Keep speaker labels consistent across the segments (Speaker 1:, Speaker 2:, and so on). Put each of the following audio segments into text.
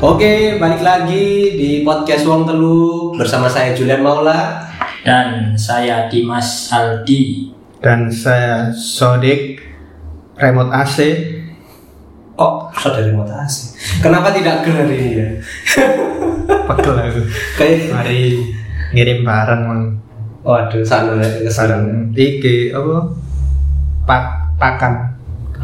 Speaker 1: Oke, balik lagi di podcast Wong Telu bersama saya Julian Maula.
Speaker 2: dan saya Dimas Aldi.
Speaker 3: dan saya Sodik remote AC
Speaker 1: Oh, saudari mutasi. Kenapa tidak ger hari ini ya?
Speaker 3: pegel aku
Speaker 1: Kayak
Speaker 3: mari ngirim barang mang
Speaker 1: waduh, sana kesana.
Speaker 3: barang iki apa pak pakan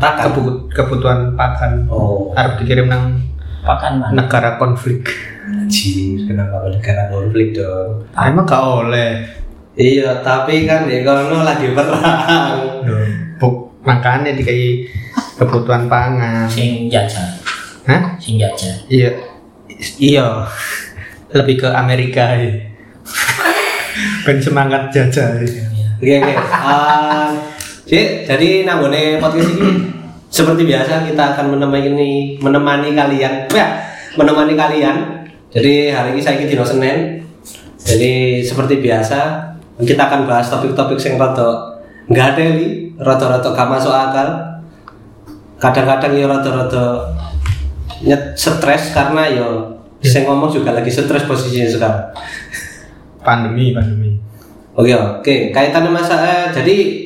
Speaker 1: Pakan.
Speaker 3: Kebu- kebutuhan pakan
Speaker 1: Oh,
Speaker 3: harus dikirim nang
Speaker 2: Pakan mana?
Speaker 3: negara konflik
Speaker 1: anjir, kenapa balik karena konflik dong?
Speaker 3: Ah, emang gak oleh
Speaker 1: Iya, tapi kan di kono lagi perang.
Speaker 3: Loh, bu- makanya dikai kebutuhan pangan
Speaker 2: Sing jajah,
Speaker 3: Hah?
Speaker 2: sing jajah.
Speaker 3: iya iya lebih ke Amerika ya. ben semangat jajah ya.
Speaker 1: Oke, oke. Iya, Ah, Cik, jadi nanggone podcast ini seperti biasa kita akan menemani menemani kalian. Ya, menemani kalian. Jadi hari ini saya ke Dino Senin. Jadi seperti biasa kita akan bahas topik-topik yang rada nggak ada li, rada-rada gak masuk akal. Kadang-kadang ya rada-rada nyet stres karena ya saya ngomong juga lagi stres posisinya sekarang.
Speaker 3: pandemi pandemi
Speaker 1: Oke, Oh iya, oke. Kaitannya masalah, jadi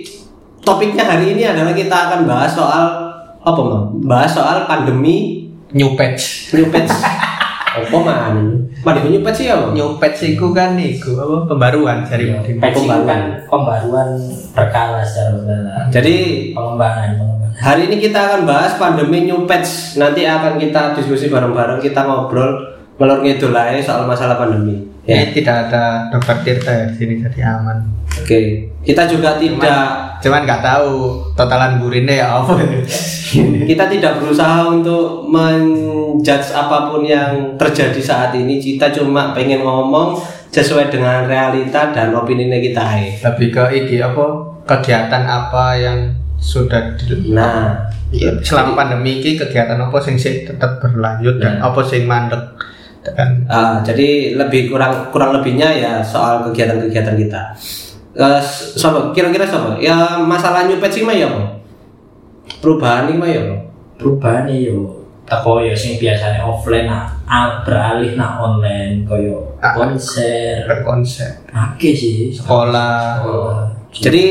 Speaker 1: topiknya hari ini adalah kita akan bahas soal apa, Mam? Bahas soal pandemi
Speaker 3: new patch
Speaker 1: new patch. apa, Man? Pandemi new patch ya, Mam?
Speaker 3: New patch iku kan iku apa pembaruan dari
Speaker 2: Iya,
Speaker 3: modem.
Speaker 2: patching
Speaker 1: pembaruan.
Speaker 2: kan pembaruan berkala secara berkala.
Speaker 1: Jadi
Speaker 2: Pengembangan, pengembangan.
Speaker 1: hari ini kita akan bahas pandemi new patch. Nanti akan kita diskusi bareng-bareng, kita ngobrol melor ngidul aja soal masalah pandemi. Ya.
Speaker 3: Ini tidak ada dokter Tirta ya di sini jadi aman.
Speaker 1: Oke. Kita juga tidak
Speaker 3: Cuman nggak tahu totalan burinnya ya apa.
Speaker 1: kita tidak berusaha untuk menjudge apapun yang terjadi saat ini kita cuma pengen ngomong sesuai dengan realita dan opini kita eh. ae.
Speaker 3: Lebih ke iki apa kegiatan apa yang sudah di
Speaker 1: nah
Speaker 3: Iya, selama pandemi ini kegiatan apa sing sih tetap berlanjut dan apa sing mandek dan
Speaker 1: eh, jadi lebih kurang kurang lebihnya ya soal kegiatan-kegiatan kita Eh, s- sopo kira-kira sopo ya masalah new patch mah ya Bang? perubahan ini mah ya Bang?
Speaker 2: Perubahan ya, yo teko yo sing biasanya offline nah a- beralih nah online koyo
Speaker 3: Ah.
Speaker 2: konser.
Speaker 3: berkonsep
Speaker 2: Oke sih.
Speaker 3: sekolah
Speaker 2: Oh.
Speaker 1: jadi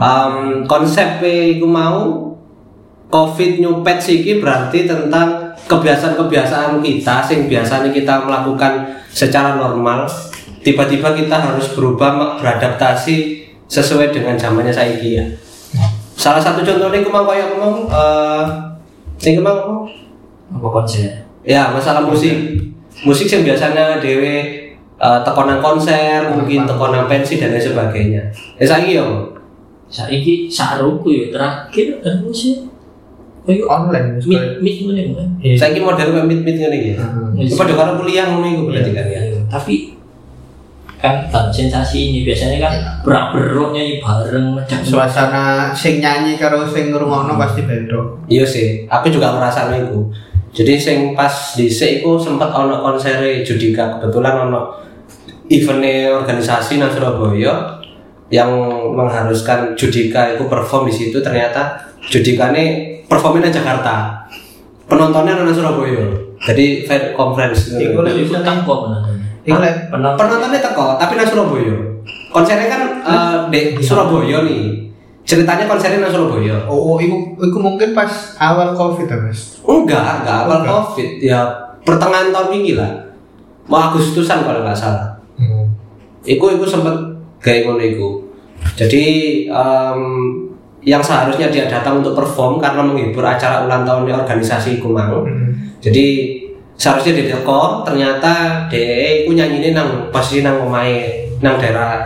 Speaker 1: em konsep e iku mau covid new patch iki berarti tentang kebiasaan-kebiasaan kita sing biasanya kita melakukan secara normal tiba-tiba kita harus berubah me- beradaptasi sesuai dengan zamannya saiki ya salah satu contohnya iku mau kayak ngomong eh sing iku mau ngomong,
Speaker 2: Apa konser?
Speaker 1: ya masalah musik musik yang biasanya dewe eh, tekonan konser mungkin tekonan pensi dan lain sebagainya ya saiki ya Bang?
Speaker 2: Saiki saruku yo terakhir kan sih. Koyo
Speaker 3: online
Speaker 2: mid mid ngene ya. kan.
Speaker 3: Iya.
Speaker 1: Saiki model kayak meet meet ngene iki. ya.
Speaker 2: Wis.
Speaker 1: Padha karo kuliah ngono iku
Speaker 3: Iya.
Speaker 1: berarti kan ya.
Speaker 2: tapi kan tan sensasi ini biasanya kan berak beruk nyanyi bareng macam
Speaker 3: suasana sing nyanyi karo sing ngrungokno pasti beda
Speaker 1: Iya sih, aku juga ngerasakno iku. Jadi sing pas dhisik iku sempat ono konser Judika kebetulan ono eventnya organisasi nang Surabaya yang mengharuskan Judika itu perform di situ ternyata Judika ini performnya nang Jakarta penontonnya nang Surabaya jadi fair conference
Speaker 3: Iku lek-
Speaker 2: itu kan kok penontonnya
Speaker 3: Iku lek
Speaker 2: penonton
Speaker 1: penontonnya teko tapi nang Surabaya konsernya kan eh, di Surabaya nih ceritanya konsernya nang Surabaya
Speaker 3: Oh, oh iku, iku mungkin pas awal covid ya mas
Speaker 1: enggak enggak awal
Speaker 3: Enggak.
Speaker 1: covid ya pertengahan tahun ini lah mau Agustusan kalau nggak salah Iku iku sempet kayak ngono iku. Jadi em, yang seharusnya dia datang untuk perform karena menghibur acara ulang tahunnya organisasi iku mau.
Speaker 3: Hmm.
Speaker 1: Jadi seharusnya di dekor ternyata dia iku nyanyi nang posisi nang omahe nang daerah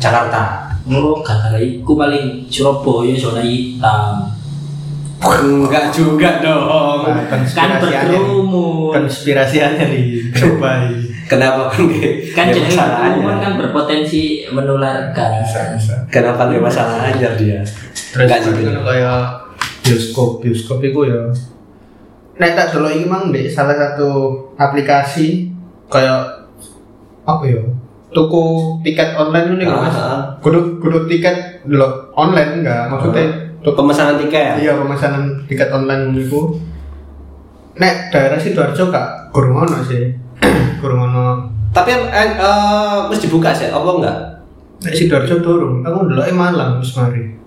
Speaker 1: Jakarta.
Speaker 2: oh gara-gara iku paling Surabaya zona hitam
Speaker 1: Enggak juga dong.
Speaker 3: Nah,
Speaker 2: kan
Speaker 3: konspirasi aja nih. Kan
Speaker 2: berkerumun
Speaker 3: konspirasi aja nih coba ini.
Speaker 1: Kenapa kan dia-
Speaker 2: kan
Speaker 1: dia
Speaker 2: jadi
Speaker 1: masalah
Speaker 2: berkerumun
Speaker 1: anyar.
Speaker 2: kan berpotensi menularkan
Speaker 3: Iya.
Speaker 1: Kenapa dia masalah anyar dia?
Speaker 3: terus
Speaker 1: Enggak juga.
Speaker 3: kan kayak bioskop bioskop itu ya nah tak dulu ini mang deh salah satu aplikasi kayak apa ya tuku tiket online ini mas
Speaker 1: Ah,
Speaker 3: kudu kudu tiket lo online enggak maksudnya
Speaker 1: Pemesanan ah. tiket.
Speaker 3: Iya pemesanan tiket online itu nek daerah Sidoarjo kak kurang ono sih kurang ono
Speaker 1: Tapi eh, eh, mesti buka sih, apa enggak?
Speaker 3: nek Sidoarjo turun aku dulu eh malam wis mari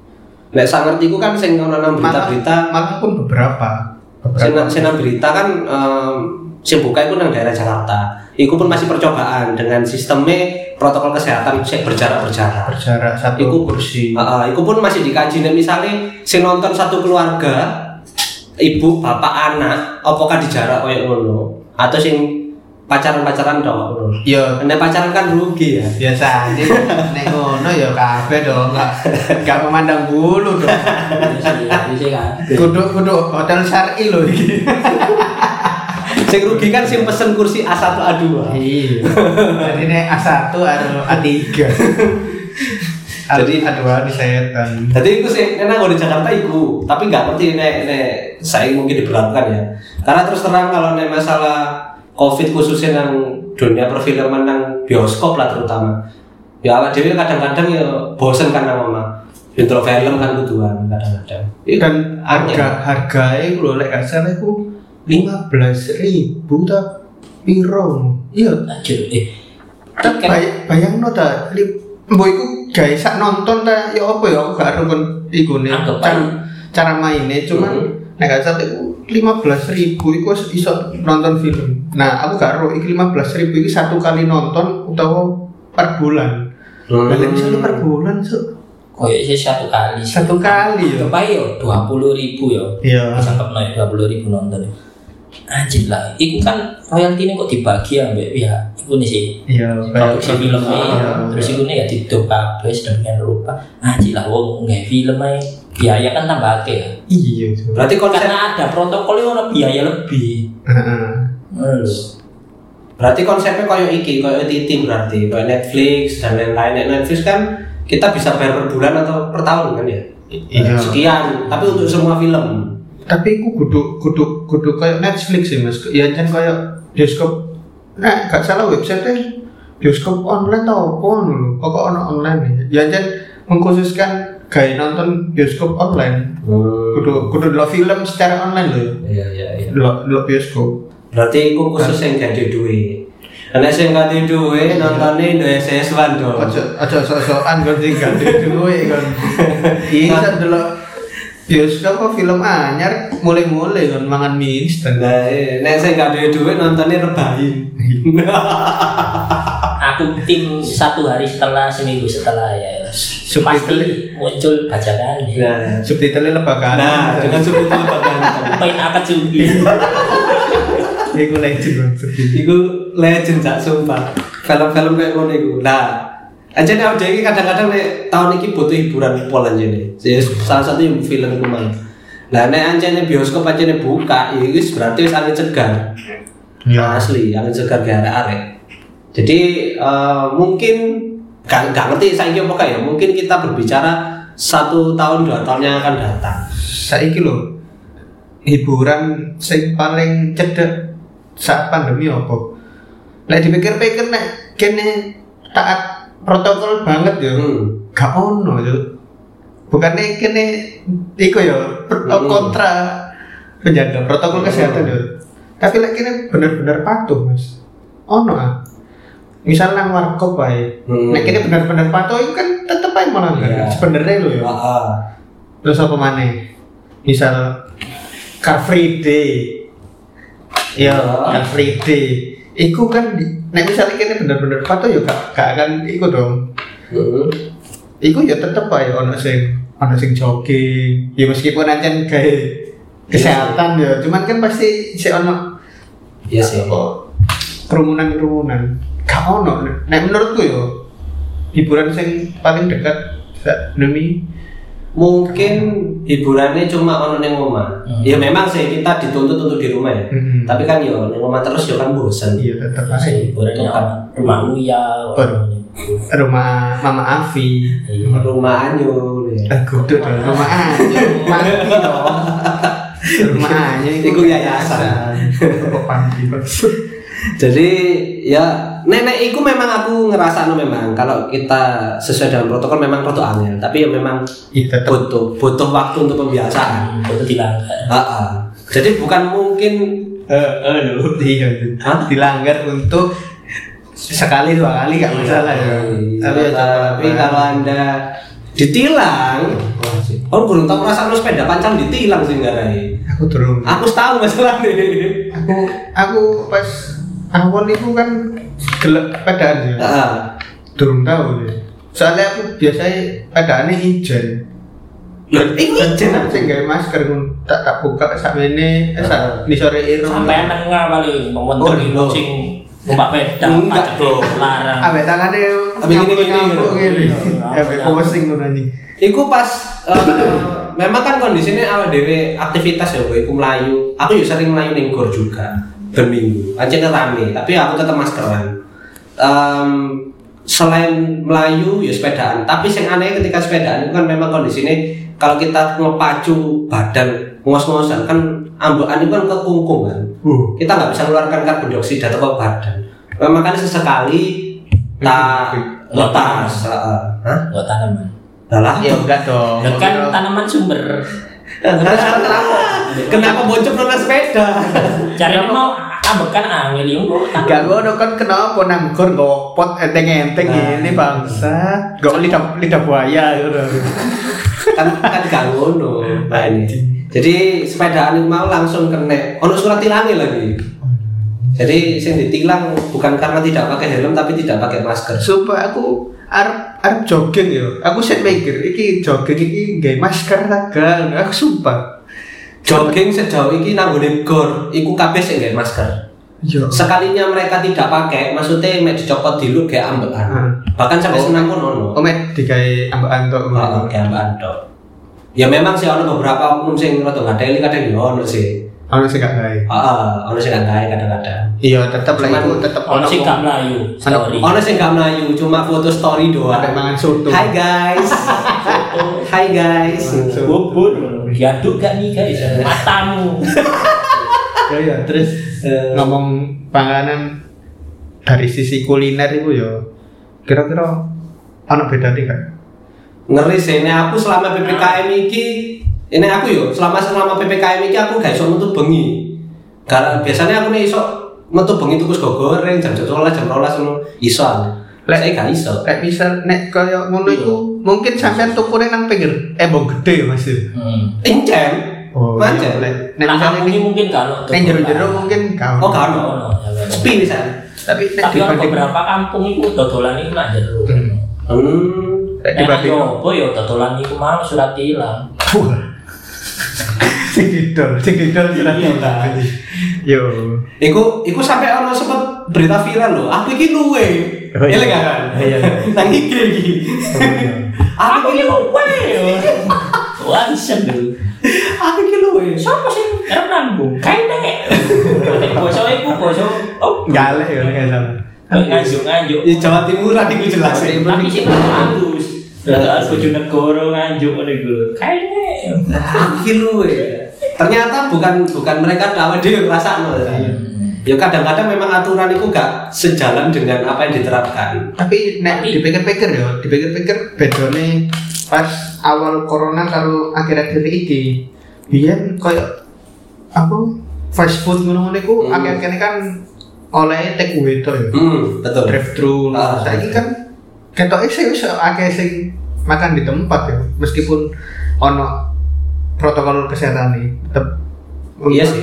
Speaker 1: Nek sak ngertiku kan sing ono nang berita-berita,
Speaker 3: malam pun beberapa
Speaker 1: sing
Speaker 3: beberapa
Speaker 1: sing nang berita kan em, sing buka itu nang daerah Jakarta. Iku pun masih percobaan dengan sistemnya protokol kesehatan sik berjarak-berjarak.
Speaker 3: berjarak satu Ah,
Speaker 1: Iku
Speaker 3: kursi
Speaker 1: Heeh, iku pun masih dikaji nek misale sing nonton satu keluarga ibu, bapak, anak, apakah dijarak koyo ngono atau sing pacaran-pacaran tok ngono.
Speaker 3: ya
Speaker 1: Nek pacaran kan rugi ya.
Speaker 3: biasa aja nek ngono ya kabeh dong gak gak memandang bulu dong
Speaker 2: Jadi kan.
Speaker 3: kudu kudu hotel syar'i loh iki
Speaker 1: Sing rugi kan sing pesen kursi A1 A2.
Speaker 3: iya jadi nek A1 atau A3 jadi
Speaker 1: Jadi-
Speaker 3: A2 di setan
Speaker 1: Jadi iku sih enak kalau di Jakarta iku, tapi nggak ngerti nek nek saya mungkin diberlakukan ya. Karena terus terang kalau nek masalah COVID khususnya nang dunia perfilman nang bioskop lah terutama. Ya awak dhewe kadang-kadang ya bosen kan nang omah. Intro film kan tujuan kadang-kadang. Iya. Ih,
Speaker 3: Iya, dan
Speaker 1: angin.
Speaker 3: harga harga itu loh lek gak salah itu lima belas ribu tak piro iya
Speaker 2: Anjir, eh.
Speaker 3: tak
Speaker 1: Tiket.
Speaker 3: bay bayang no tak boy ku guys sak nonton tak ya apa ya aku gak rukun iku nih
Speaker 2: Anggap
Speaker 3: cara cara mainnya cuman nek gak salah itu lima belas ribu itu wis iso nonton film nah aku gak roh iki lima belas ribu itu satu kali nonton utawa per bulan
Speaker 1: Hmm.
Speaker 3: Lah, lek misalnya per bulan Su.
Speaker 2: Koyo sih satu kali.
Speaker 3: satu kali ya
Speaker 2: Kepai yo dua puluh ribu yo.
Speaker 3: iya
Speaker 2: Sangkep naik dua puluh ribu nonton. Anjir lah, itu kan royalti ini kok dibagi ya mbak ya, itu nih sih
Speaker 3: iya
Speaker 2: produksi filmnya,
Speaker 1: Ah,
Speaker 3: iya.
Speaker 2: terus itu nih ya ditutup habis dengan rupa, anjir lah, wong nggak film aja, biaya kan tambah akeh ya.
Speaker 3: iya Su.
Speaker 1: Berarti konsep
Speaker 2: karena ada protokolnya orang biaya lebih
Speaker 3: Heeh.
Speaker 2: Ngono lho.
Speaker 1: berarti konsepnya koyo iki, koyo titim berarti, koyo Netflix dan lain-lain. Nek Netflix kan kita bisa bayar per bulan atau per tahun kan ya.
Speaker 3: Iya.
Speaker 1: Sekian, tapi untuk semua film.
Speaker 3: tapi aku kudu kudu kudu kayak Netflix sih mas ya jangan kayak bioskop nah gak salah website bioskop online tau apa dulu pokok ono online ya jangan mengkhususkan gaya nonton bioskop online kudu kudu delok film secara online loh
Speaker 1: Iya, iya, iya.
Speaker 3: delok delok bioskop
Speaker 1: Berarti aku khusus yang ganti duit. Nek sing ganti duit nontone Indonesia Swan dong.
Speaker 3: aja aja sok-sokan kan sih gak ada duit kan iya delok bioskop kok film anyar mulai-mulai kan mangan mie instan
Speaker 1: Nah, iya. eh, nek sing ganti duit nontone rebahin.
Speaker 2: aku tim satu hari setelah seminggu setelah ya pasti muncul bajakan ya.
Speaker 1: Nah,
Speaker 3: subtitlenya lebakan
Speaker 1: nah dengan sebut itu
Speaker 2: main apa juga
Speaker 1: Iya.
Speaker 3: Iku legend banget sedih.
Speaker 1: Iku legend cak sumpah. Film-film kayak ngono iku. Nah, aja nih awake iki kadang-kadang nek tahun iki butuh hiburan pol aja nih. Jadi, Salah satu yang film iku mang. Nah, nek anjene bioskop anjene buka, iki berarti wis angin cegar.
Speaker 3: Ya.
Speaker 1: asli angin segar di arek-arek jadi eh, mungkin gak, gak ngerti saya apa kayak mungkin kita berbicara satu tahun dua tahun yang akan datang
Speaker 3: Saiki lho hiburan sing paling cedek saat pandemi apa? Lek dipikir-pikir nek kene taat protokol banget ya.
Speaker 1: hmm.
Speaker 3: Gak ono ya. Bukannya kene iku ya pro-
Speaker 1: Hmm.
Speaker 3: kontra penjaga
Speaker 1: Hmm.
Speaker 3: protokol kesehatan ya. Tapi lek kene bener-bener patuh, Mas. Ono ah. Misal nang warkop bae.
Speaker 1: Hmm.
Speaker 3: Nek kene bener-bener patuh itu kan tetep ae malah
Speaker 1: Iya.
Speaker 3: sebenarnya lho ya.
Speaker 1: Ah, ah.
Speaker 3: Terus apa mana? Misal Car Free Day. Ya,
Speaker 1: Ya.
Speaker 3: Car Free Day. Iku kan di, nek misalnya kene bener-bener patuh ya gak, gak akan iku dong.
Speaker 1: Hmm.
Speaker 3: Iku ya tetep ae ono sing ono sing jogging. Ya meskipun ancen gawe kesehatan ya, cuman kan pasti si ono
Speaker 1: iya sih
Speaker 3: apa kerumunan-kerumunan. Gak ono. Nek menurutku ya hiburan sing paling dekat saat pandemi
Speaker 1: mungkin hiburannya cuma ono ning omah
Speaker 2: Hmm.
Speaker 1: ya memang sih kita dituntut untuk di rumah ya
Speaker 3: Hmm.
Speaker 1: tapi kan yo ning omah terus yo kan bosen
Speaker 3: iya tetep ae.
Speaker 2: hiburannya rumah ya. uya
Speaker 3: rumah Mama Afi
Speaker 1: Iya. rumah anyur ya.
Speaker 3: aku tuh dong rumah Anyo mati dong rumah Anyo
Speaker 1: Iku yayasan.
Speaker 3: kok panti maksud
Speaker 1: Jadi ya nenek itu memang aku ngerasa memang kalau kita sesuai dengan protokol memang rotok angel tapi ya memang
Speaker 3: iya tetep
Speaker 1: butuh butuh waktu untuk pembiasaan.
Speaker 2: itu dilanggar
Speaker 1: Ah, ah. Jadi bukan mungkin
Speaker 3: Heeh lho. Iya.
Speaker 1: Hah?
Speaker 3: Dilanggar untuk sekali dua kali gak masalah ya. Tapi ya coba
Speaker 1: Iya. tapi kalau anda ditilang oh, Orang belum tahu perasaan lu sepeda pancang ditilang sih ngarai.
Speaker 3: aku turun.
Speaker 1: Aku tahu masalah nih.
Speaker 3: Aku aku pas awal itu kan gelap pedaan ya.
Speaker 1: Ah,
Speaker 3: Durung tahu ya. Soalnya aku biasanya pedaannya hijau.
Speaker 1: Loh, ini
Speaker 3: Jenang
Speaker 1: jenang
Speaker 3: sing gawe masker kun tak tak buka sakmene eh sak di sore irung.
Speaker 2: sampai nengah paling mau
Speaker 1: Oh,
Speaker 2: menteri
Speaker 3: iya.
Speaker 1: no.
Speaker 2: sing numpak peda
Speaker 1: Enggak,
Speaker 2: pacet,
Speaker 1: bro.
Speaker 2: larang
Speaker 3: Ambek tangane
Speaker 1: Ambek gini, gini,
Speaker 3: nyampuk-nyampuk
Speaker 2: gini.
Speaker 3: ngene.
Speaker 2: Iya,
Speaker 3: Ambek
Speaker 2: iya.
Speaker 3: posing ngono anjing.
Speaker 1: Iku pas eh, memang kan kondisinya awal dewe aktivitas ya, Bu. Iku melayu. Aku juga sering melayu ning gor juga berminggu. Aja rame, tapi aku tetap maskeran. Em, selain melayu ya sepedaan, tapi yang aneh ketika sepedaan itu kan memang kondisinya kalau kita ngepacu badan ngos-ngosan kan ambekan itu kan kekungkung kan. Kita nggak bisa mengeluarkan karbon dioksida atau ke badan. Makanya sesekali tak lepas. heeh. Hah?
Speaker 2: Enggak tanaman
Speaker 1: Lah,
Speaker 3: Ya enggak dong.
Speaker 2: Ya kan tanaman sumber
Speaker 1: Kenapa bocok nona sepeda?
Speaker 2: cari
Speaker 3: Iya.
Speaker 2: mau ambekan angin iya. yuk
Speaker 3: Gak ngono kan kenapa nang gor nggawa pot enteng-enteng ini bangsa. Gak lidah lidah buaya gitu.
Speaker 1: kan kan gak ngono. Nah, ini. Jadi sepedaan itu mau langsung kena. Ono surat tilangnya lagi. Jadi sing ditilang bukan karena tidak pakai helm tapi tidak pakai masker.
Speaker 3: Sumpah aku arep arep jogging ya. Aku set mikir iki jogging iki nggawe masker ta gak. Aku sumpah.
Speaker 1: Jogging sejauh ini nanggone gor, iku kabeh sing nggae masker.
Speaker 3: Yo.
Speaker 1: Sekalinya mereka tidak pakai, maksudnya mek dicopot dulu kayak ambekan.
Speaker 3: Hmm.
Speaker 1: Bahkan sampai
Speaker 3: Oh.
Speaker 1: senang pun ono.
Speaker 3: Omet digawe ambekan tok.
Speaker 1: Oh, gambaran tok. Ya memang sih ono beberapa oknum sing rada ngadeli kadang ya ono sih.
Speaker 3: Ono sing gak gawe.
Speaker 1: Heeh, Ah, ono sing gak gawe kadang-kadang.
Speaker 3: Iya, tetep lah
Speaker 1: Cuman
Speaker 3: itu tetep
Speaker 2: orang sih
Speaker 3: wong
Speaker 2: gak melayu
Speaker 3: Ono-
Speaker 2: sorry
Speaker 1: Ono sing gak melayu, cuma foto story
Speaker 3: arek
Speaker 1: doang.
Speaker 3: mangan soto.
Speaker 1: Hai guys. Hai guys.
Speaker 3: Soto.
Speaker 2: bubur diaduk Ya, gak nih guys
Speaker 3: Iya.
Speaker 2: matamu
Speaker 3: Ya ya, terus
Speaker 1: Eh,
Speaker 3: ngomong panganan dari sisi kuliner itu ya kira-kira ana bedane gak?
Speaker 1: Ngeri sih, ini aku selama PPKM iki ini aku yo, selama selama PPKM iki aku gak iso metu bengi. Karena biasanya aku nih iso metu bengi tuku sego goreng jam 12 jam 12 ngono iso. Lah saya
Speaker 3: Lek-
Speaker 1: gak iso.
Speaker 3: Kayak misal nek kaya ngono iku mungkin sampean tukune nang pinggir embong gede ya, Mas. ya?
Speaker 2: hmm.
Speaker 1: Incem.
Speaker 3: Oh,
Speaker 1: Macet.
Speaker 3: iya, lek nek
Speaker 2: nah
Speaker 3: misal
Speaker 2: kamu ini
Speaker 3: ning
Speaker 2: mungkin kalau
Speaker 3: ning jero-jero mungkin gak
Speaker 1: Oh,
Speaker 3: ono.
Speaker 1: gak ono.
Speaker 2: Oh, ya, ya.
Speaker 1: Sepi di sana.
Speaker 3: Tapi nek
Speaker 2: tapi orang
Speaker 3: dibanding
Speaker 2: beberapa kampung itu dodolan itu nak jero
Speaker 3: Hmm.
Speaker 1: Hmm.
Speaker 3: nek
Speaker 2: Nek
Speaker 3: dibanding
Speaker 2: yo apa yo dodolan iku mau surat tilang.
Speaker 3: Wah. sing didol, sing didol surat
Speaker 1: Iya.
Speaker 3: utang. Yo.
Speaker 1: Iku, iku sampai ono sempat berita viral loh. Aku iki luwe.
Speaker 3: Oh, iya.
Speaker 1: Iya kan?
Speaker 3: Iya, iya.
Speaker 1: Nang iki iki. Aku iki luwe.
Speaker 2: Warisan dulu.
Speaker 1: Aku iki luwe.
Speaker 2: Siapa sih? Karena nanggung. Kain deh. Bosok iku bosok. Oh,
Speaker 3: Galeh ya nek sama.
Speaker 2: nganjuk nganjuk.
Speaker 1: Ya Jawa Timuran iku jelas ya.
Speaker 2: Tapi sih bagus. Terus Bojonegoro nganjuk ngene iku. Kain deh.
Speaker 1: Aku iki luwe. Ternyata bukan bukan mereka tahu dia ngerasa
Speaker 3: Hmm.
Speaker 1: Ya kadang-kadang memang aturan itu gak sejalan dengan apa yang diterapkan.
Speaker 3: tapi nek
Speaker 2: Tapi-
Speaker 3: dipikir-pikir ya dipikir-pikir bedone pas awal corona karo akhir-akhir iki biyen koyo apa fast food ngono-ngono iku
Speaker 1: Hmm.
Speaker 3: akhir-akhir ini kan oleh take away to ya
Speaker 1: Hmm, betul.
Speaker 3: drive thru
Speaker 1: Ah.
Speaker 3: saiki kan ketoke sih wis akeh sing makan di tempat ya meskipun ono protokol kesehatan nih tetep
Speaker 1: Iya sih.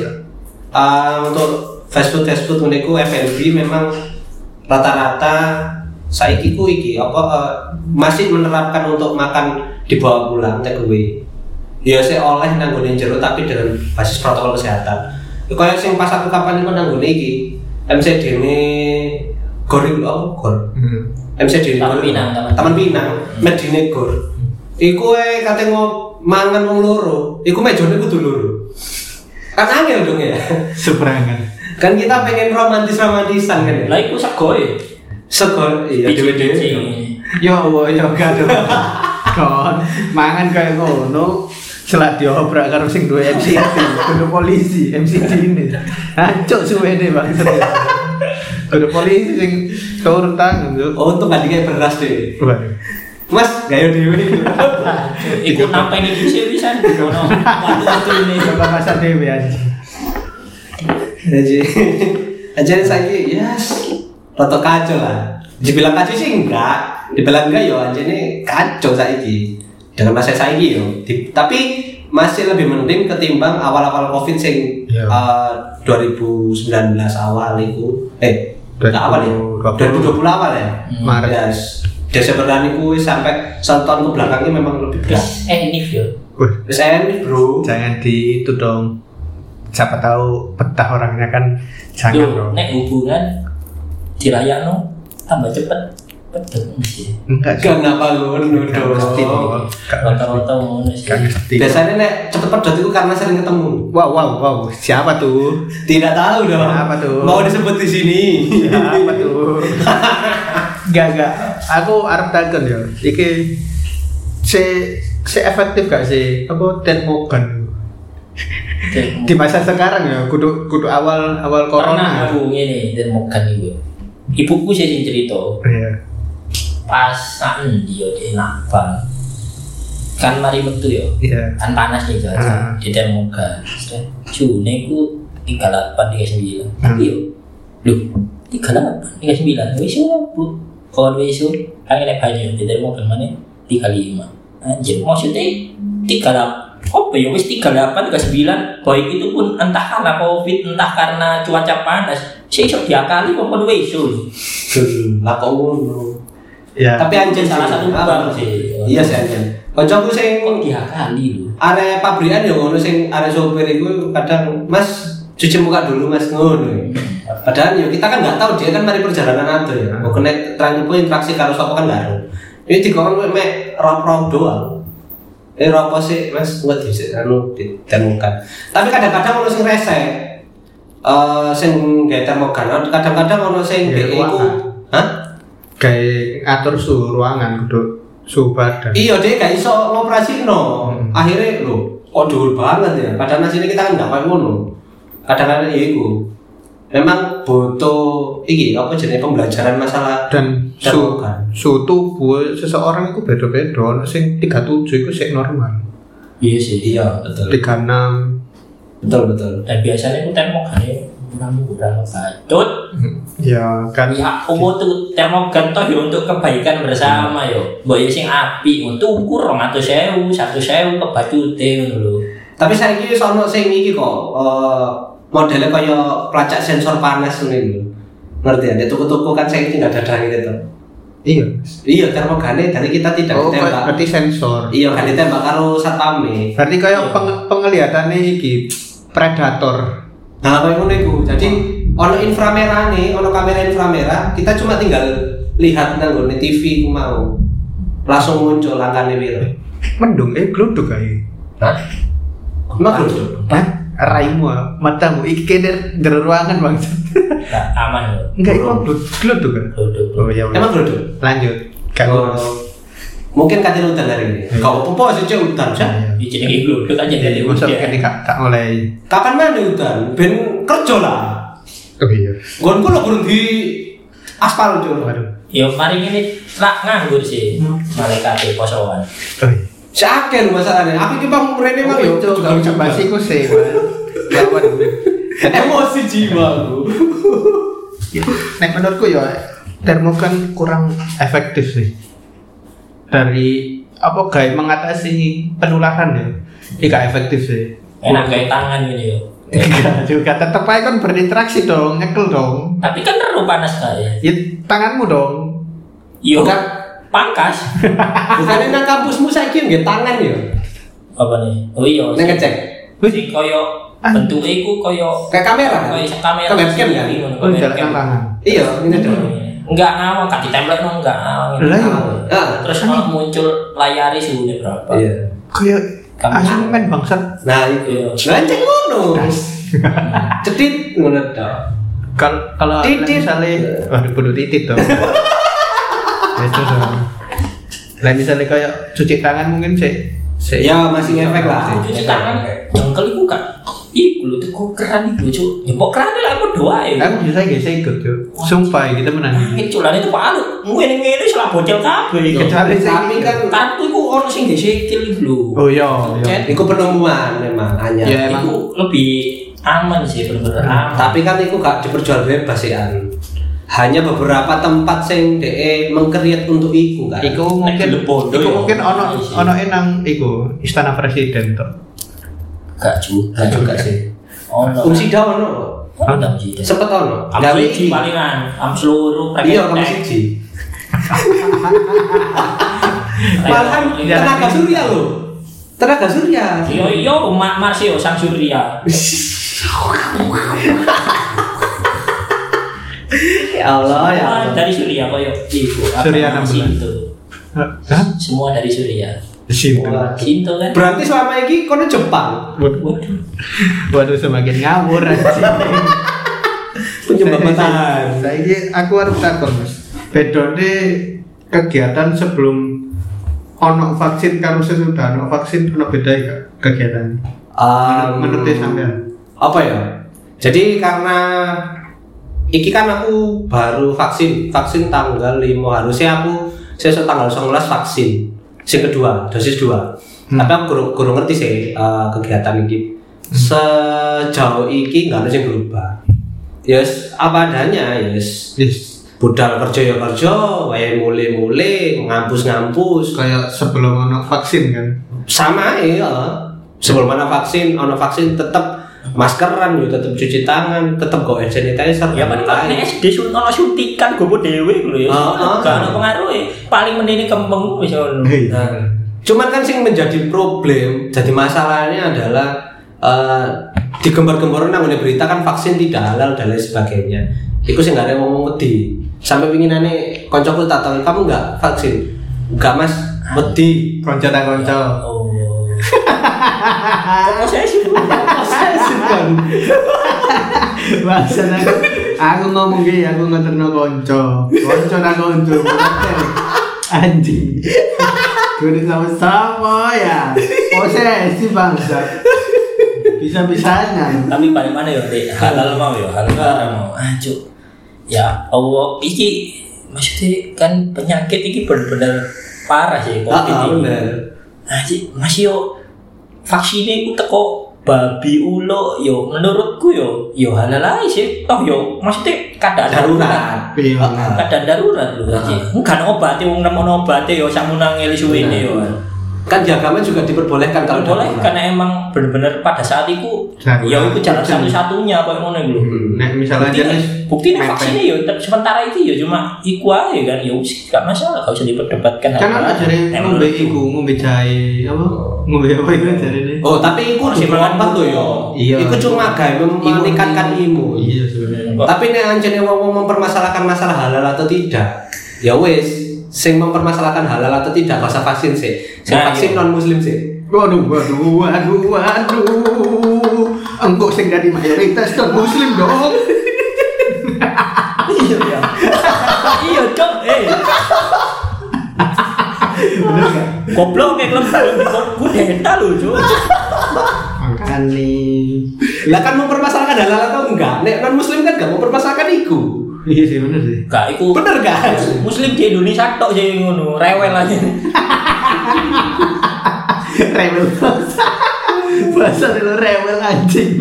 Speaker 1: Eh, untuk fast food fast food menurutku F&B memang rata-rata saiki ku iki apa eh, masih menerapkan untuk makan dibawa pulang take away. Ya saya oleh nanggone jero tapi dengan basis protokol kesehatan. Ya, Kayak sing pas aku kapan iku nanggone iki MCD ne goreng oh gor.
Speaker 3: Hmm.
Speaker 1: MCD
Speaker 2: Taman
Speaker 1: Gor.
Speaker 2: Pinang, Taman
Speaker 1: Taman Pinang, Medine Gor. Iku eh kate ngo mangan wong loro, iku mejone kudu loro. Kan angel dong ya.
Speaker 3: seberangan
Speaker 1: Kan kita pengen romantis-romantisan kan ya.
Speaker 2: Lah iku sego ya.
Speaker 1: Sekol iya
Speaker 2: Biji-biji.
Speaker 1: dhewe-dhewe.
Speaker 3: yo wo yo gak ada kon mangan kayak ngono selat diobrak karo sing duwe MCD kudu polisi MCD ini ancuk suwene bang kudu polisi sing turun tangan tuh
Speaker 1: Oh, untung gak dikai beras deh. Mas, ya, gayo dhewe.
Speaker 2: Iku nampak ini bisa bisa di kono. Waktu-waktu ini.
Speaker 3: coba pasar dewe aja
Speaker 1: Jadi, aja saiki yes, roto kacau lah. Dibilang kacau sih enggak, dibilang enggak yo aja ini kacau saiki dengan masa saiki yo. Di- tapi masih lebih mending ketimbang awal-awal covid sing
Speaker 3: Iya.
Speaker 1: eh, 2019 awal itu eh enggak awal ya
Speaker 3: 2020.
Speaker 1: 2020 awal ya
Speaker 2: Hmm.
Speaker 3: Maret.
Speaker 1: yes. Desember tahun itu sampai satu tahun ke belakangnya memang lebih berat
Speaker 2: Eh, ini yo.
Speaker 3: Wih,
Speaker 1: terus ini bro
Speaker 3: jangan di itu dong. Siapa tahu petah orangnya kan jangan
Speaker 2: Yo,
Speaker 3: dong.
Speaker 2: nek hubungan dirayakno tambah cepet. ya. Cepet mesti.
Speaker 3: Enggak sih.
Speaker 1: kenapa lu
Speaker 3: Enggak
Speaker 1: nuduh
Speaker 3: mesti. Enggak mesti.
Speaker 2: Rata-rata ngono sih.
Speaker 3: Enggak mesti.
Speaker 1: Biasanya nek cepet pedot itu karena sering ketemu.
Speaker 3: Wow, wow, wow. Siapa tuh?
Speaker 1: Tidak tahu dong.
Speaker 3: Nah, Apa tuh?
Speaker 1: Mau disebut di sini.
Speaker 3: Siapa tuh? Enggak, enggak. Aku arep takon ya. Iki se se efektif gak sih? Apa ten Morgan?
Speaker 2: Cek,
Speaker 3: Di masa sekarang ya, kudu kudu awal awal
Speaker 2: Pernah
Speaker 3: corona.
Speaker 2: aku ngene dan makan iku. Ibuku sih sing cerita.
Speaker 3: Iya.
Speaker 2: pasan dia di nabang kan mari metu yo
Speaker 3: Iya.
Speaker 2: kan panas nih cuaca
Speaker 3: Ah.
Speaker 2: di termoga Juni ku 38, 39 tapi yo lu 38, 39 wis bu kawan wis kan kena banyu di termoga mana 35 anjir Nah, maksudnya 38 apa ya wis 38, 39 baik itu pun entah karena covid entah karena cuaca panas sih sok diakali kok kon wis
Speaker 1: Lah kok ngono.
Speaker 3: Iya.
Speaker 1: Tapi anjir
Speaker 2: Salah satu lubang sih.
Speaker 1: Iya sih anjir. Kancaku sing
Speaker 2: kok diakali lho
Speaker 1: arek pabrikan ya ngono sing arek sopir iku kadang Mas cuci muka dulu Mas ngono. Padahal ya kita kan nggak tahu dia kan mari perjalanan ada ya. Mau kena terang pun interaksi kalau sapa kan nggak ada. Ini dikon mek rop-rop doang. Eh ropo sih Mas buat bisa anu ditemukan. Tapi kadang-kadang ono sing rese. Eh sing gawe termogan kadang-kadang ono sing
Speaker 3: Ya,
Speaker 1: dhek iku.
Speaker 3: ruangan.
Speaker 1: Hah?
Speaker 3: Kayak atur suhu ruangan kudu suhu badan.
Speaker 1: Iya deh gak iso ngoperasi no.
Speaker 3: Hmm.
Speaker 1: Akhirnya lo kok dhuwur banget ya. Padahal nasi ini kita kan nggak kayak ngono. Kadang-kadang ya iku. Memang butuh iki apa jenis pembelajaran masalah
Speaker 3: dan su
Speaker 1: termogan.
Speaker 3: su tubuh seseorang itu beda-beda Ono sing 37 itu sik normal
Speaker 2: Iya sih.
Speaker 1: Iya betul.
Speaker 3: 36
Speaker 1: Betul betul.
Speaker 2: Dan biasanya aku termogan ya murah-murah bacot.
Speaker 3: ya kan
Speaker 2: Ya aku mau tuh termogan toh ya untuk kebaikan bersama yo. Mbok ya sing api untuk ukur 200.000, 100.000 kebacute ngono lho.
Speaker 1: Tapi saya ini sono sing iki kok eh, modelnya kaya pelacak sensor panas ini lho. Ngerti ya? Di toko-toko kan saya ini nggak ada dangin itu.
Speaker 3: iya
Speaker 1: Iya termogane dari kita tidak
Speaker 3: oh kayak-
Speaker 1: ditembak.
Speaker 3: berarti sensor
Speaker 1: Iya kan ditembak karo satpame.
Speaker 3: berarti
Speaker 2: Iya.
Speaker 3: kayak peng- penglihatannya iki predator
Speaker 1: Nah kayak ngono iku. Jadi ono inframerah nih, ono kamera inframerah, kita cuma tinggal lihat nang nggone TV ku mau. Langsung muncul langkahnya piro.
Speaker 3: mendung eh gluduk ae
Speaker 1: Hah? Emang gitu?
Speaker 3: Hah? raimu ah, matamu iki kene jero ruangan bang
Speaker 2: Nah, aman yo.
Speaker 3: enggak itu gluduk gluduk kan
Speaker 2: Duduk.
Speaker 3: oh ya udah.
Speaker 1: Emang gitu?
Speaker 3: lanjut Oh. kalau
Speaker 1: Mungkin katil udan hari ini.
Speaker 3: Kan. Iya.
Speaker 1: Kau popo sih cek udan sih.
Speaker 2: Di Ya, jenenge duduk aja dari
Speaker 3: masuk
Speaker 2: ujian.
Speaker 3: kene gak tak mulai
Speaker 1: Kapan mandi udan? Ben kerja lah.
Speaker 3: oh iya
Speaker 1: Gonku lo kurang di aspal cur.
Speaker 3: waduh
Speaker 2: Yo mari ini tak nganggur sih. Malaikat di posoan.
Speaker 3: oh iya
Speaker 1: Cakel masalahnya. Aku coba merene bang yo.
Speaker 3: itu kalau coba sih ku sih lawan
Speaker 1: Emosi jiwaku.
Speaker 3: nek menurutku ya termogan kurang efektif sih dari apa gaya mengatasi penularan ya ini gak efektif sih
Speaker 2: Enak kayak tangan gini yo.
Speaker 3: Enggak juga tetep aja kan berinteraksi dong nyekel dong
Speaker 2: Tapi kan terlalu panas kayak.
Speaker 3: ya tanganmu dong
Speaker 2: Yo
Speaker 3: Enggak.
Speaker 2: pangkas
Speaker 1: Bukannya nang kampusmu saiki nggih tangan yo.
Speaker 2: apa nih? Oh iya.
Speaker 1: Nang ngecek.
Speaker 2: Jadi koyo bentuke iku koyo
Speaker 1: Kayak kamera kan?
Speaker 2: koyo sak Oh, iya,
Speaker 1: Kayak
Speaker 2: kamera. Iya.
Speaker 1: webcam kan?
Speaker 2: sendiri, ngono,
Speaker 3: oh
Speaker 2: kayak
Speaker 3: jalan
Speaker 2: webcam.
Speaker 3: tangan
Speaker 1: Iya, ini dong.
Speaker 2: Enggak ngawang kan ditempel no enggak ngawang.
Speaker 3: Lah, iya.
Speaker 1: Ah.
Speaker 2: Terus malah muncul layari suhunya berapa.
Speaker 1: Iya.
Speaker 3: kaya
Speaker 2: Kamu-
Speaker 3: asam men bangsat
Speaker 1: Nah, itu.
Speaker 2: Iya.
Speaker 1: Lanceng ngono.
Speaker 2: Hmm,
Speaker 1: Cetit ngono tok.
Speaker 3: kalau kalau
Speaker 1: Titit.
Speaker 3: misalnya waduh kudu titit dong itu dong lah misalnya kayak cuci tangan mungkin sih sih
Speaker 1: Ya masih ngefek lah.
Speaker 2: Cuci tangan jengkel iku kan. Iku lho teko toko keran itu cuk ya kok keran lah aku doa ya
Speaker 3: Aku bisa gak saya ikut yo. Sumpah kita menang.
Speaker 2: Ini culan itu palu ngene ngene salah bocil kabeh
Speaker 3: Kecuali saya
Speaker 1: Tapi
Speaker 3: ikut.
Speaker 1: kan
Speaker 2: Tapi ku ono sing gak sikil iki lho
Speaker 3: Oh iya, iya.
Speaker 2: Cek.
Speaker 1: Iku penemuan memang hanya.
Speaker 3: Ya emang.
Speaker 2: Itu lebih aman sih bener-bener aman
Speaker 1: Tapi kan iku gak diperjual bebas ya. An. Hanya beberapa tempat sing DE mengkreat untuk iku kan.
Speaker 3: Iku
Speaker 2: Nek
Speaker 3: mungkin
Speaker 2: gelem bondo
Speaker 3: Iku
Speaker 2: ya.
Speaker 3: mungkin ono
Speaker 2: Iya.
Speaker 3: ono enang iku istana presiden toh.
Speaker 2: Gak juga juga sih Ono
Speaker 1: Umsida ono.
Speaker 2: Ono gak mesti
Speaker 1: Sempet ono.
Speaker 2: Kamu
Speaker 1: Gawe iki.
Speaker 2: siji palingan Kamu seluruh
Speaker 1: Iya, kamu siji. Malahan
Speaker 2: Iya.
Speaker 1: tenaga surya loh. Tenaga surya.
Speaker 2: Yo yo mak masih yo sang surya
Speaker 1: Ya Allah ya.
Speaker 2: Semua
Speaker 1: Allah.
Speaker 2: dari surya kok yo Ibu apa
Speaker 3: Surya
Speaker 2: namanya,
Speaker 3: 16.
Speaker 2: Sinto.
Speaker 3: Hah?
Speaker 2: Semua dari surya
Speaker 3: Situ.
Speaker 1: Wah.
Speaker 2: Sinto kan
Speaker 1: Berarti selama ini kono Jepang.
Speaker 3: Waduh,
Speaker 2: Waduh
Speaker 3: waduh semakin ngawur anjing.
Speaker 1: Penyebab
Speaker 3: Saya- saya-
Speaker 1: matahari.
Speaker 3: Saya ini aku harus takon mas. Bedone kegiatan sebelum ono vaksin karo sesudah ono vaksin ono beda ya kegiatan.
Speaker 1: Um,
Speaker 3: Menurut- menurut sampean.
Speaker 1: apa ya jadi karena iki kan aku baru vaksin vaksin tanggal 5 harusnya aku sesuk tanggal 19 vaksin sing kedua dosis dua
Speaker 3: Hmm.
Speaker 1: tapi aku kurang, kurang ngerti sih eh, kegiatan ini sejauh iki nggak ada yang berubah yes apa adanya yes
Speaker 3: Yes.
Speaker 1: budal kerja ya kerja wae mulai mulai ngampus ngampus
Speaker 3: Kayak sebelum ono vaksin kan.
Speaker 1: sama ya sebelum ada vaksin ada vaksin tetap maskeran juga tetap cuci tangan tetap go hand sanitizer
Speaker 2: Ya
Speaker 1: dan
Speaker 2: kan
Speaker 1: lain-lain.
Speaker 2: nek SD sun ono suntikan gopo dhewe lho ya.
Speaker 1: Ah, ah.
Speaker 2: Gak ono pengaruhe. Paling mendene kembeng wis ono.
Speaker 3: Hei.
Speaker 1: Nah, cuman kan sing menjadi problem jadi masalahnya adalah eh digembar-gemboran nang ngene berita kan vaksin tidak halal dan lain sebagainya Iku sih nggak ada yang ngomong wedi sampai pingin aneh koncoku tak tahu kamu nggak vaksin nggak mas wedi
Speaker 3: Konco tak konco.
Speaker 2: Oh. Kok saya sih.
Speaker 3: Bahasan aku, aku ngomong gini, aku ngeterno konco. Konco tak konco. Anjing. Kudu sama-sama ya. Posesif bangsa. Bisa-bisanya.
Speaker 2: Tapi paling mana ya Dek? halal mau ya, halal haram mau. Ah, cuk. Ya Allah, iki maksudnya kan penyakit iki bener-bener parah sih
Speaker 1: ah
Speaker 2: Covid
Speaker 1: ah,
Speaker 2: ini.
Speaker 1: bener
Speaker 2: Ah, sih, masih yo vaksinnya ku teko babi ulo yo menurutku yo yo halal aja sih toh yo maksudnya keadaan
Speaker 1: darurat
Speaker 3: Iya.
Speaker 1: Ah, ah.
Speaker 2: keadaan darurat lho
Speaker 1: Ah.
Speaker 2: aja. Enggak ada obatnya, wong nemu ono obatnya yo sang nangeli suwe ini yo.
Speaker 1: kan jagamen juga diperbolehkan kalau
Speaker 2: Boleh
Speaker 1: darurat.
Speaker 2: karena emang bener-bener pada saat itu
Speaker 3: Darurat.
Speaker 2: ya itu jalan satu-satunya apa yang ngono iku lho.
Speaker 1: Hmm.
Speaker 3: Nek misalnya
Speaker 2: Bukti
Speaker 3: aja nih.
Speaker 2: bukti nih vaksinnya yo tetap sementara itu yo cuma iku aja kan yo wis gak masalah gak usah diperdebatkan.
Speaker 3: Kan
Speaker 2: apa.
Speaker 3: ada jari
Speaker 2: Emang
Speaker 3: ngombe
Speaker 2: menurutku.
Speaker 3: iku, ngombe jahe apa? Ngombe apa itu jari ini?
Speaker 1: Oh, tapi iku
Speaker 2: Masih
Speaker 1: di
Speaker 2: makan
Speaker 1: tempat tuh
Speaker 2: dulu.
Speaker 1: yo.
Speaker 3: Iya.
Speaker 1: Iku cuma gawe meningkatkan imun.
Speaker 3: Iya
Speaker 2: Hmm,
Speaker 3: sebenarnya.
Speaker 1: Tapi nek anjene wong mempermasalahkan masalah halal atau tidak, ya wis, sing mempermasalahkan halal atau tidak gak usah vaksin sih. Sing
Speaker 2: Nah,
Speaker 1: vaksin
Speaker 2: iya.
Speaker 1: non muslim sih.
Speaker 3: Waduh, waduh, waduh, waduh. Engkau sing dari mayoritas non muslim dong.
Speaker 2: iya iya. Iya dong. Eh. Goblok kayak lembah lembah gue denda lho, Cuk.
Speaker 3: Makane.
Speaker 1: Lah kan mempermasalahkan halal atau enggak? Nek non muslim kan gak mempermasalahkan iku.
Speaker 3: Iya sih bener sih.
Speaker 2: Gak iku
Speaker 1: Bener kan?
Speaker 2: muslim di Indonesia tok sih yang ngono, rewel aja.
Speaker 3: Rewel Bahasa lu rewel anjing.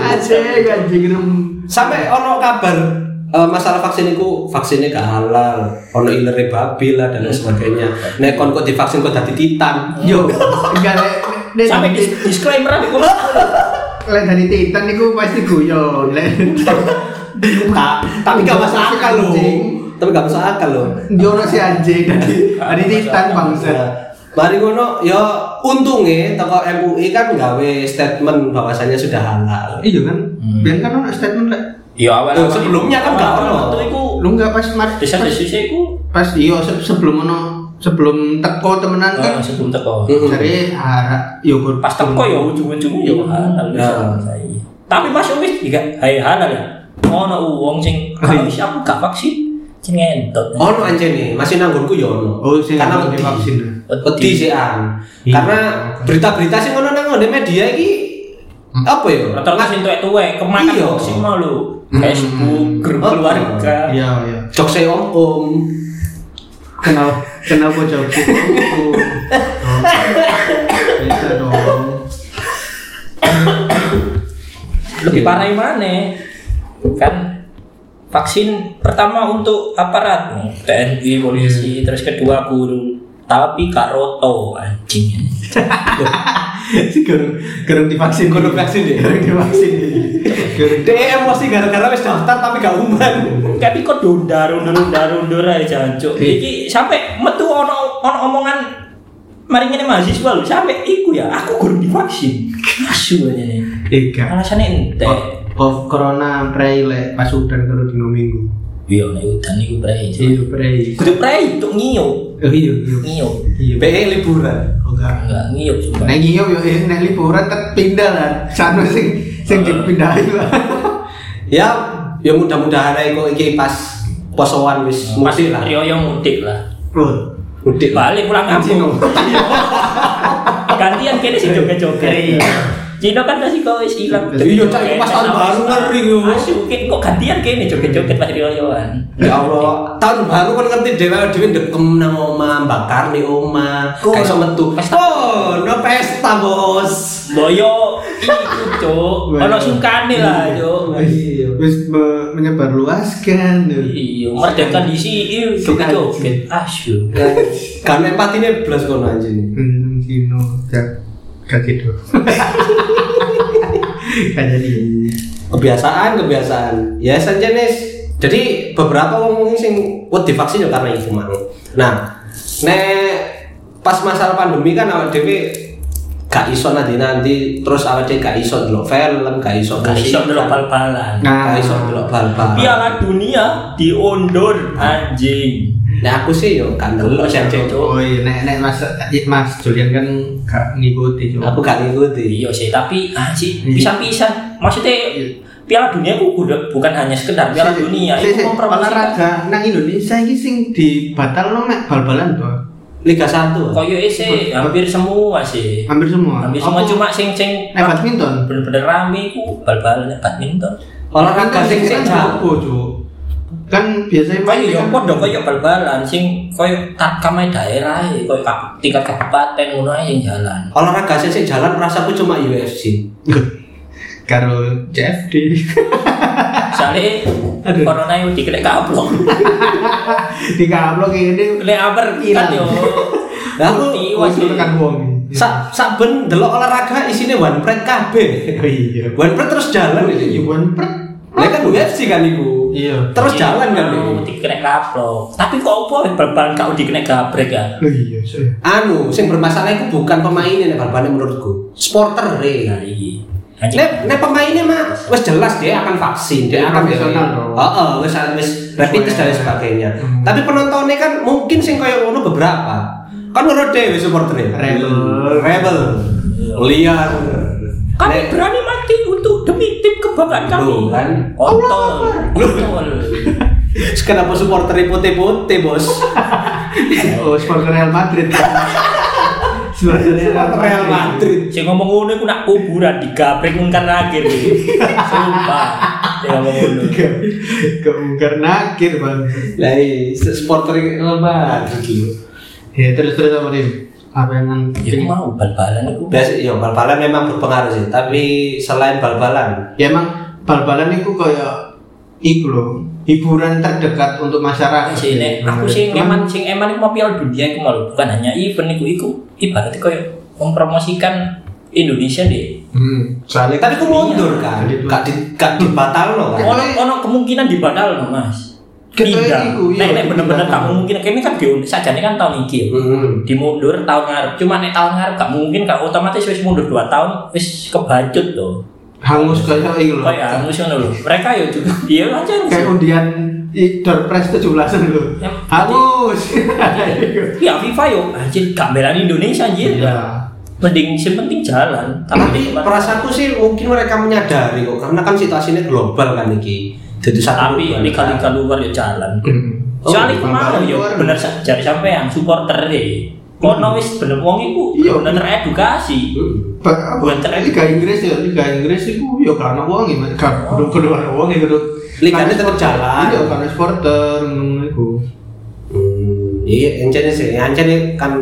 Speaker 3: Anjing anjing rem.
Speaker 1: Sampai ono kabar eh, masalah vaksin iku vaksinnya gak halal, ono ilere babi lah dan lain sebagainya. Nek kon kok divaksin kok dadi titan.
Speaker 3: Yo, enggak lek lek-
Speaker 2: Sampai dis disclaimer aku.
Speaker 3: lek dari Titan niku pasti guyon. Lek
Speaker 1: Ta- tapi gak masuk akal loh. Tapi gak masuk akal loh.
Speaker 3: Dia orang si anjing dari dari Titan
Speaker 1: Nah,
Speaker 3: bangsa.
Speaker 1: Mari ngono ya untungnya tokoh MUI kan gawe statement bahwasannya sudah halal.
Speaker 3: Iya kan?
Speaker 2: Hmm.
Speaker 3: Biar kan orang statement lah.
Speaker 2: Ya awal
Speaker 1: Loh, sebelumnya kan gak ono.
Speaker 2: Itu iku
Speaker 3: Lu nggak pas mar
Speaker 2: desa desa iku
Speaker 3: pas iya se- sebelum ono sebelum teko temenan kan.
Speaker 2: eh, sebelum teko.
Speaker 1: Mm-mm.
Speaker 3: Jadi arah yo
Speaker 2: Pas teko ya ujung-ujungnya ya halal
Speaker 1: Ya.
Speaker 2: bisa. Tapi Mas Umis juga hai halal ya. Ono wong sing kalau wis aku gak vaksin, sing ngentot.
Speaker 1: Ono aja nih, masih nanggungku ya ono.
Speaker 3: Oh sih
Speaker 1: karena
Speaker 3: karena
Speaker 1: wedi.
Speaker 3: divaksin.
Speaker 1: Wedi sih an.
Speaker 3: Iya.
Speaker 1: Karena berita-berita sih ngono nang ngone media iki apa ya?
Speaker 2: Rata-rata sing tuwek-tuwek eh, kemakan
Speaker 1: Iya.
Speaker 2: sing mau lu.
Speaker 3: Hmm.
Speaker 2: Facebook, grup
Speaker 1: Oh.
Speaker 2: keluarga.
Speaker 3: Iya, iya.
Speaker 1: Jok saya om om.
Speaker 3: Kenal kenal gua jauh. Bisa dong.
Speaker 2: Lebih
Speaker 1: Iya.
Speaker 2: parah yang mana? Kan vaksin pertama untuk
Speaker 1: Hmm.
Speaker 2: aparat nih, TNI, polisi, terus kedua guru. Tapi Kak Roto anjing.
Speaker 3: Si gerung gerung divaksin.
Speaker 1: Gerung vaksin, deh.
Speaker 3: Gerung divaksin. Gerung
Speaker 1: DM Iya. emosi gara-gara wis daftar tapi gak umpan.
Speaker 2: Tapi kok dunda dunda dunda dunda aja jancuk.
Speaker 3: Iya.
Speaker 2: Iki sampai metu ono ono omongan mari ngene mahasiswa lho sampai iku ya aku gurung divaksin. Asu aja nih.
Speaker 3: tiga.
Speaker 2: Alasannya ente.
Speaker 3: Oh. Of corona prei le pas udan kalau di minggu.
Speaker 2: Iya nek udan iku prei.
Speaker 3: Iya prei.
Speaker 2: Kudu prei untuk ngiyup.
Speaker 3: Oh iya iya.
Speaker 2: Ngiyup.
Speaker 3: Iya.
Speaker 1: BE liburan.
Speaker 3: Oh enggak.
Speaker 2: Enggak ngiyup sumpah.
Speaker 3: Nek iyo yo eh, nek liburan tet pindah lah. Sana sing sing dipindahin lah.
Speaker 1: Ya, ya mudah-mudahan ae kok iki pas posoan wis
Speaker 2: Pasti
Speaker 1: mudik lah.
Speaker 2: Rio yang mudik lah.
Speaker 3: Bro.
Speaker 1: Mudik lah.
Speaker 2: Balik pulang kampung. Gantian kene sih joget-joget. Cino kan pasti kau wis ilang.
Speaker 1: Iya, Cak, itu pas tahun baru kan, Rio.
Speaker 2: Asu, kene kok gantian kene joget-joget pas Rio Yoan.
Speaker 1: Ya Allah, tahun baru kan ngerti dewa dhewe ndekem nang omah, bakar di omah,
Speaker 2: Oh,
Speaker 1: gak iso metu.
Speaker 2: pesta.
Speaker 1: Oh, no pesta, Bos.
Speaker 2: Boyo iku, Cuk. Ono sukane lah, Cuk.
Speaker 1: Iya.
Speaker 3: Wis me- menyebar kan, luaskan.
Speaker 2: Iya, merdeka di sini iya, joget-joget. Asu.
Speaker 1: Kan empatine blas kono anjing.
Speaker 3: Hmm, Dino gak gak gitu. Gak jadi.
Speaker 1: kebiasaan kebiasaan ya saja Nes. jadi beberapa wong mungkin sing wet divaksin ya karena itu mang nah nek pas masalah pandemi kan awak dhewe gak iso nanti nanti terus awak dhewe gak iso ndelok film gak iso
Speaker 2: Gak
Speaker 1: musik,
Speaker 2: iso Iya ndelok
Speaker 1: gak-
Speaker 2: bal-balan.
Speaker 3: Nah.
Speaker 1: gak iso ndelok bal-bal
Speaker 2: Piala dunia diundur anjing.
Speaker 1: nah aku sih yo gak ndelok sih Cuk.
Speaker 3: Oh iya, nek nek Mas Mas Julian kan gak ngikuti cuma.
Speaker 1: aku gak ngikuti
Speaker 2: Iya sih, tapi ah sih
Speaker 3: Iya.
Speaker 2: pisah-pisah. Maksudnya
Speaker 3: Iya.
Speaker 2: Piala Dunia ku kudu- bukan hanya sekedar Piala Dunia,
Speaker 3: Si- si-
Speaker 2: itu mempromosikan
Speaker 3: iya. olahraga nang Indonesia iki sing dibatalno mek bal-balan to.
Speaker 1: Liga 1
Speaker 2: koyo sih hampir semua sih.
Speaker 3: Iya. Hampir semua.
Speaker 2: Hampir semua
Speaker 3: Apa?
Speaker 2: cuma sing sing
Speaker 3: nek badminton.
Speaker 2: bener-bener rame ku bal-balan badminton.
Speaker 1: olahraga
Speaker 2: Iya,
Speaker 1: sing sing
Speaker 3: Badminton
Speaker 1: jauh
Speaker 3: apa, Cuk? Kan biasanya
Speaker 2: Koyo yo
Speaker 3: kan-
Speaker 2: podo koyo bal-balan sing koyo kamai daerah ya, koyo kap- tingkat kabupaten ngono ae yang jalan.
Speaker 1: olahraga sing sing jalan rasaku cuma UFC
Speaker 3: karo CFD.
Speaker 2: Sale
Speaker 3: Aduh.
Speaker 2: corona yo dikelek kaplok.
Speaker 3: Di kablok ini
Speaker 2: Kelek aper kan yo.
Speaker 3: Hilang.
Speaker 1: Lah, aku-
Speaker 2: Putih,
Speaker 3: Oh,
Speaker 2: wajib.
Speaker 3: tekan wong.
Speaker 1: sak sak ben delok olahraga isine one press kabeh
Speaker 3: Oh iya.
Speaker 1: one press terus jalan
Speaker 3: Iya,
Speaker 1: ini
Speaker 3: Iwan per.
Speaker 1: Lah kan UFC kan iku.
Speaker 3: Iya.
Speaker 1: Terus jalan kan iku.
Speaker 2: Iya, dikenek kaplok. Tapi kok opo bal-balan kau dikenek gabrek ya?
Speaker 3: Oh iya, so.
Speaker 1: Anu, sing bermasalah iku bukan pemainnya nek bal menurutku. Sporter
Speaker 3: Iya,
Speaker 2: Nah,
Speaker 1: e.
Speaker 2: iki.
Speaker 1: Nek nek pemainnya mah wis jelas dia akan vaksin, dia
Speaker 3: Dia
Speaker 1: akan
Speaker 3: profesional dong.
Speaker 1: Heeh, wis wis rapid test dan lain sebagainya.
Speaker 3: iya. Hmm.
Speaker 1: Tapi penontonnya kan mungkin sing kaya ngono beberapa. Kan menurut dhewe supportere.
Speaker 3: Rebel. Iya.
Speaker 1: Rebel. Liar.
Speaker 2: Kami
Speaker 1: Nek-
Speaker 2: berani mati untuk demi tim kebanggaan
Speaker 1: Loh,
Speaker 2: kami.
Speaker 1: kan.
Speaker 2: Kontol. Kontol.
Speaker 1: Kenapa supporter putih-putih, Bos?
Speaker 3: Oh, supporter Real Madrid. Supporter
Speaker 1: Supporter Real Madrid.
Speaker 2: Saya ngomong ngono iku nak kuburan digabrek mungkar akhir iki. Sumpah. Saya ngomong ngono.
Speaker 3: Keungkar nakir bang.
Speaker 1: Lah, iya, supporter Real Madrid lho.
Speaker 3: Ya terus terus apa nih? Apa yang
Speaker 2: Ya aku mau bal-balan iku.
Speaker 1: Biasa, ya bal-balan memang berpengaruh sih. Tapi selain bal-balan,
Speaker 3: Ya emang bal-balan itu kayak iku loh hiburan terdekat untuk
Speaker 2: Iya,
Speaker 3: masyarakat. Iya.
Speaker 2: Sih, nek aku sing eman sing eman iku mau piala dunia iku malu bukan hanya event iku iku ibaratnya koyo mempromosikan Indonesia deh.
Speaker 3: Hmm, soalnya
Speaker 1: Tapi aku mundur kan,
Speaker 3: Jadi,
Speaker 1: gak di gak dibatal loh kan.
Speaker 2: Ono ono kemungkinan dibatalno, Mas.
Speaker 3: Kita
Speaker 2: Pindah.
Speaker 3: iku,
Speaker 2: Nek
Speaker 3: iya,
Speaker 2: nek bener-bener gak
Speaker 3: dibatalno.
Speaker 2: mungkin. Kene kan diundang sajane kan tahun iki. ya.
Speaker 1: Mm-mm.
Speaker 2: dimundur tahun ngarep cuma nek tahun ngarep gak mungkin gak otomatis wis mundur 2 tahun wis kebancut loh
Speaker 3: hangus kayak iku loh.
Speaker 2: kayak angus ngono loh mereka ya juga dia aja
Speaker 3: Kayak undian i- door prize 17-an loh.
Speaker 2: Ya,
Speaker 3: Hangus.
Speaker 2: ya FIFA yo anjir gak belani Indonesia anjir
Speaker 3: Iya.
Speaker 2: mending sing penting jalan
Speaker 1: Tapi
Speaker 2: tapi
Speaker 1: perasaanku sih mungkin mereka menyadari kok karena kan situasinya global kan iki. Jadi satu
Speaker 2: tapi
Speaker 1: global, kan.
Speaker 2: liga-liga luar ya jalan
Speaker 3: Hmm.
Speaker 1: Oh,
Speaker 2: soalnya
Speaker 3: liga-liga
Speaker 2: kemarin yo
Speaker 3: luar.
Speaker 2: bener sa- jari sampean supporter deh kono wis bener wong iku
Speaker 3: Iya. Hmm.
Speaker 2: bener teredukasi
Speaker 3: Ba-
Speaker 2: Bukan
Speaker 3: apa,
Speaker 2: tren.
Speaker 3: Liga Inggris ya, Liga Inggris itu ya karena uang ya, kan kudu kudu karena uang ya kudu.
Speaker 1: Liganya tetap jalan.
Speaker 3: Iya, karena supporter ngono iku.
Speaker 1: Hmm, iya, encene sih. Encene kan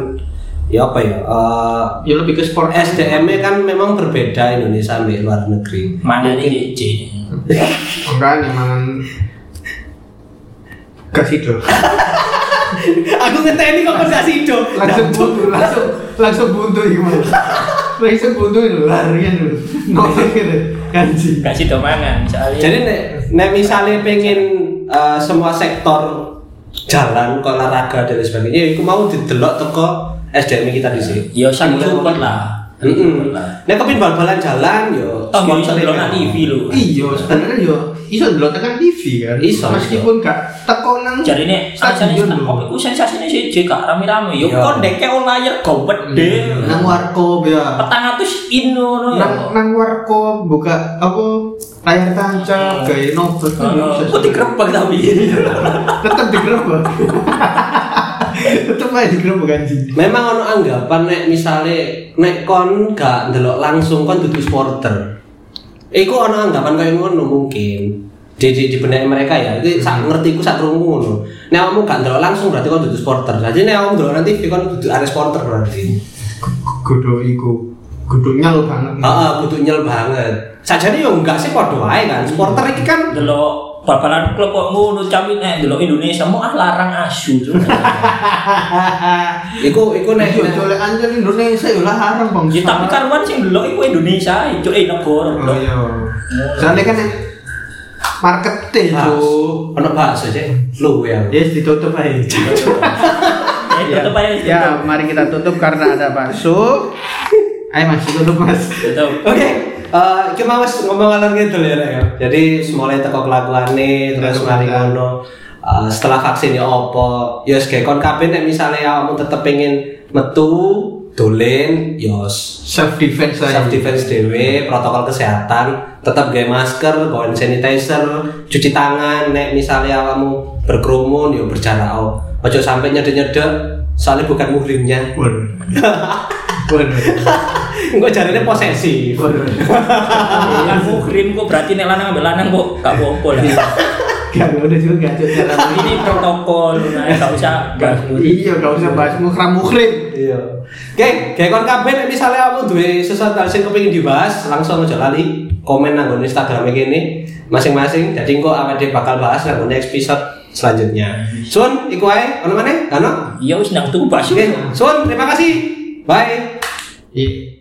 Speaker 1: ya apa ya? eh,
Speaker 3: Ya lebih ke sport
Speaker 1: SDM-nya kan memang berbeda Indonesia sama luar negeri.
Speaker 2: mana nih DJ
Speaker 3: Enggak, emang kasih dong.
Speaker 1: Aku ngeteni kok gak sido.
Speaker 3: langsung buntu langsung langsung buntu gimana langsung buntu itu larian dulu ngomong gitu kanji
Speaker 2: gak sih mangan soalnya
Speaker 1: Jadi nek nek misalnya pengen eh, semua sektor jalan olahraga dan lain sebagainya, ya iku mau didelok teko SDM kita di sini.
Speaker 2: ya sang
Speaker 3: Iya.
Speaker 2: support lah
Speaker 3: Hmm.
Speaker 1: Heeh.
Speaker 2: Support lah.
Speaker 1: Nek kepin bal-balan jalan yo
Speaker 2: Oh, bisa delok nang TV lho.
Speaker 3: iya sebenarnya yo iso dulu tekan TV kan
Speaker 1: Iso,
Speaker 3: meskipun gak tekonan
Speaker 2: Jadi ini sensasi
Speaker 3: stadion
Speaker 2: stand up
Speaker 3: lho
Speaker 2: itu sensasinya sih jika rame-rame. Yo
Speaker 1: Iya.
Speaker 2: kon deke layar gobet deh.
Speaker 3: Hmm. nang warkop ya
Speaker 2: Petang atus ino no.
Speaker 3: nang nang warkop buka apa layar tancap gaya novel kan yo
Speaker 2: Kok digerebek tapi.
Speaker 3: tetep digerebek tetep aja digerebek kanji
Speaker 1: Memang ono anggapan nek misale nek kon gak ndelok langsung kon dudu supporter. Iku ono anggapan kaya ngono mungkin. Di di, di benak mereka ya. Itu
Speaker 2: Mm-hmm.
Speaker 1: sak ngerti ku sak krungu ngono. Nek kamu gak ndelok langsung berarti kon dudu supporter. Jadi nek kamu ndelok nanti kon dudu arek supporter berarti.
Speaker 3: gudo iku gudonya lo banget
Speaker 1: Heeh, kudu nyel banget. Sajane yo enggak sih padha wae kan. Supporter iki kan
Speaker 2: Delok bal-balan klub kok ngono campur nek delok Indonesia mau ah larang asu.
Speaker 1: iku iku nek
Speaker 3: Iya, colek anjir Indonesia ya lah haram bang.
Speaker 2: Ya tapi
Speaker 1: kan-
Speaker 2: karuan sing delok iku Indonesia, cuk eh negara.
Speaker 3: Oh iya. Soalnya kan marketing
Speaker 1: Ah.
Speaker 3: tuh.
Speaker 1: ono bakso cek lu ya.
Speaker 3: Yes, ditutup aja.
Speaker 2: Eh tetep aja
Speaker 3: Ya, mari kita tutup karena ada bakso. Ayo Mas, tutup Mas.
Speaker 2: tetep.
Speaker 1: Oke, eh iki mau wis ngomong alur gitu ya, Rek, ya. Jadi mulai teko kelakuane terus
Speaker 3: Kelakuan.
Speaker 1: mari ngono. eh, setelah vaksin ya opo, ya wis gawe kon kabeh nek misale kamu tetep pengen metu dolen ya wis.
Speaker 3: Self defense aja.
Speaker 1: self defense dhewe, protokol kesehatan, tetap gawe masker, bawa hand sanitizer, cuci tangan nek misalnya kamu berkerumun ya berjarak oh. Ojo sampai nyedek-nyedek soalnya bukan muhrimnya.
Speaker 3: Waduh. Waduh.
Speaker 1: Engko jarine posesif.
Speaker 3: Waduh.
Speaker 2: Kan muhrim kok berarti nek lanang ambek lanang kok gak apa-apa lah.
Speaker 3: Gak udah juga cuci
Speaker 2: Ini protokol, nah, gak usah gak
Speaker 3: Iya, gak usah bahas muhram muhrim.
Speaker 1: Iya. Oke, kayak kon kabeh nek misale kamu duwe sesuatu hal sing kepengin dibahas, langsung aja lali komen nang nggon Instagram ini masing-masing. Jadi engko awake bakal bahas nang nggon episode selanjutnya. Sun, iku ae ono maneh? Ono?
Speaker 2: Ya wis nang tuku bakso.
Speaker 1: Oke, Sun, terima kasih. Bye.
Speaker 3: Iya.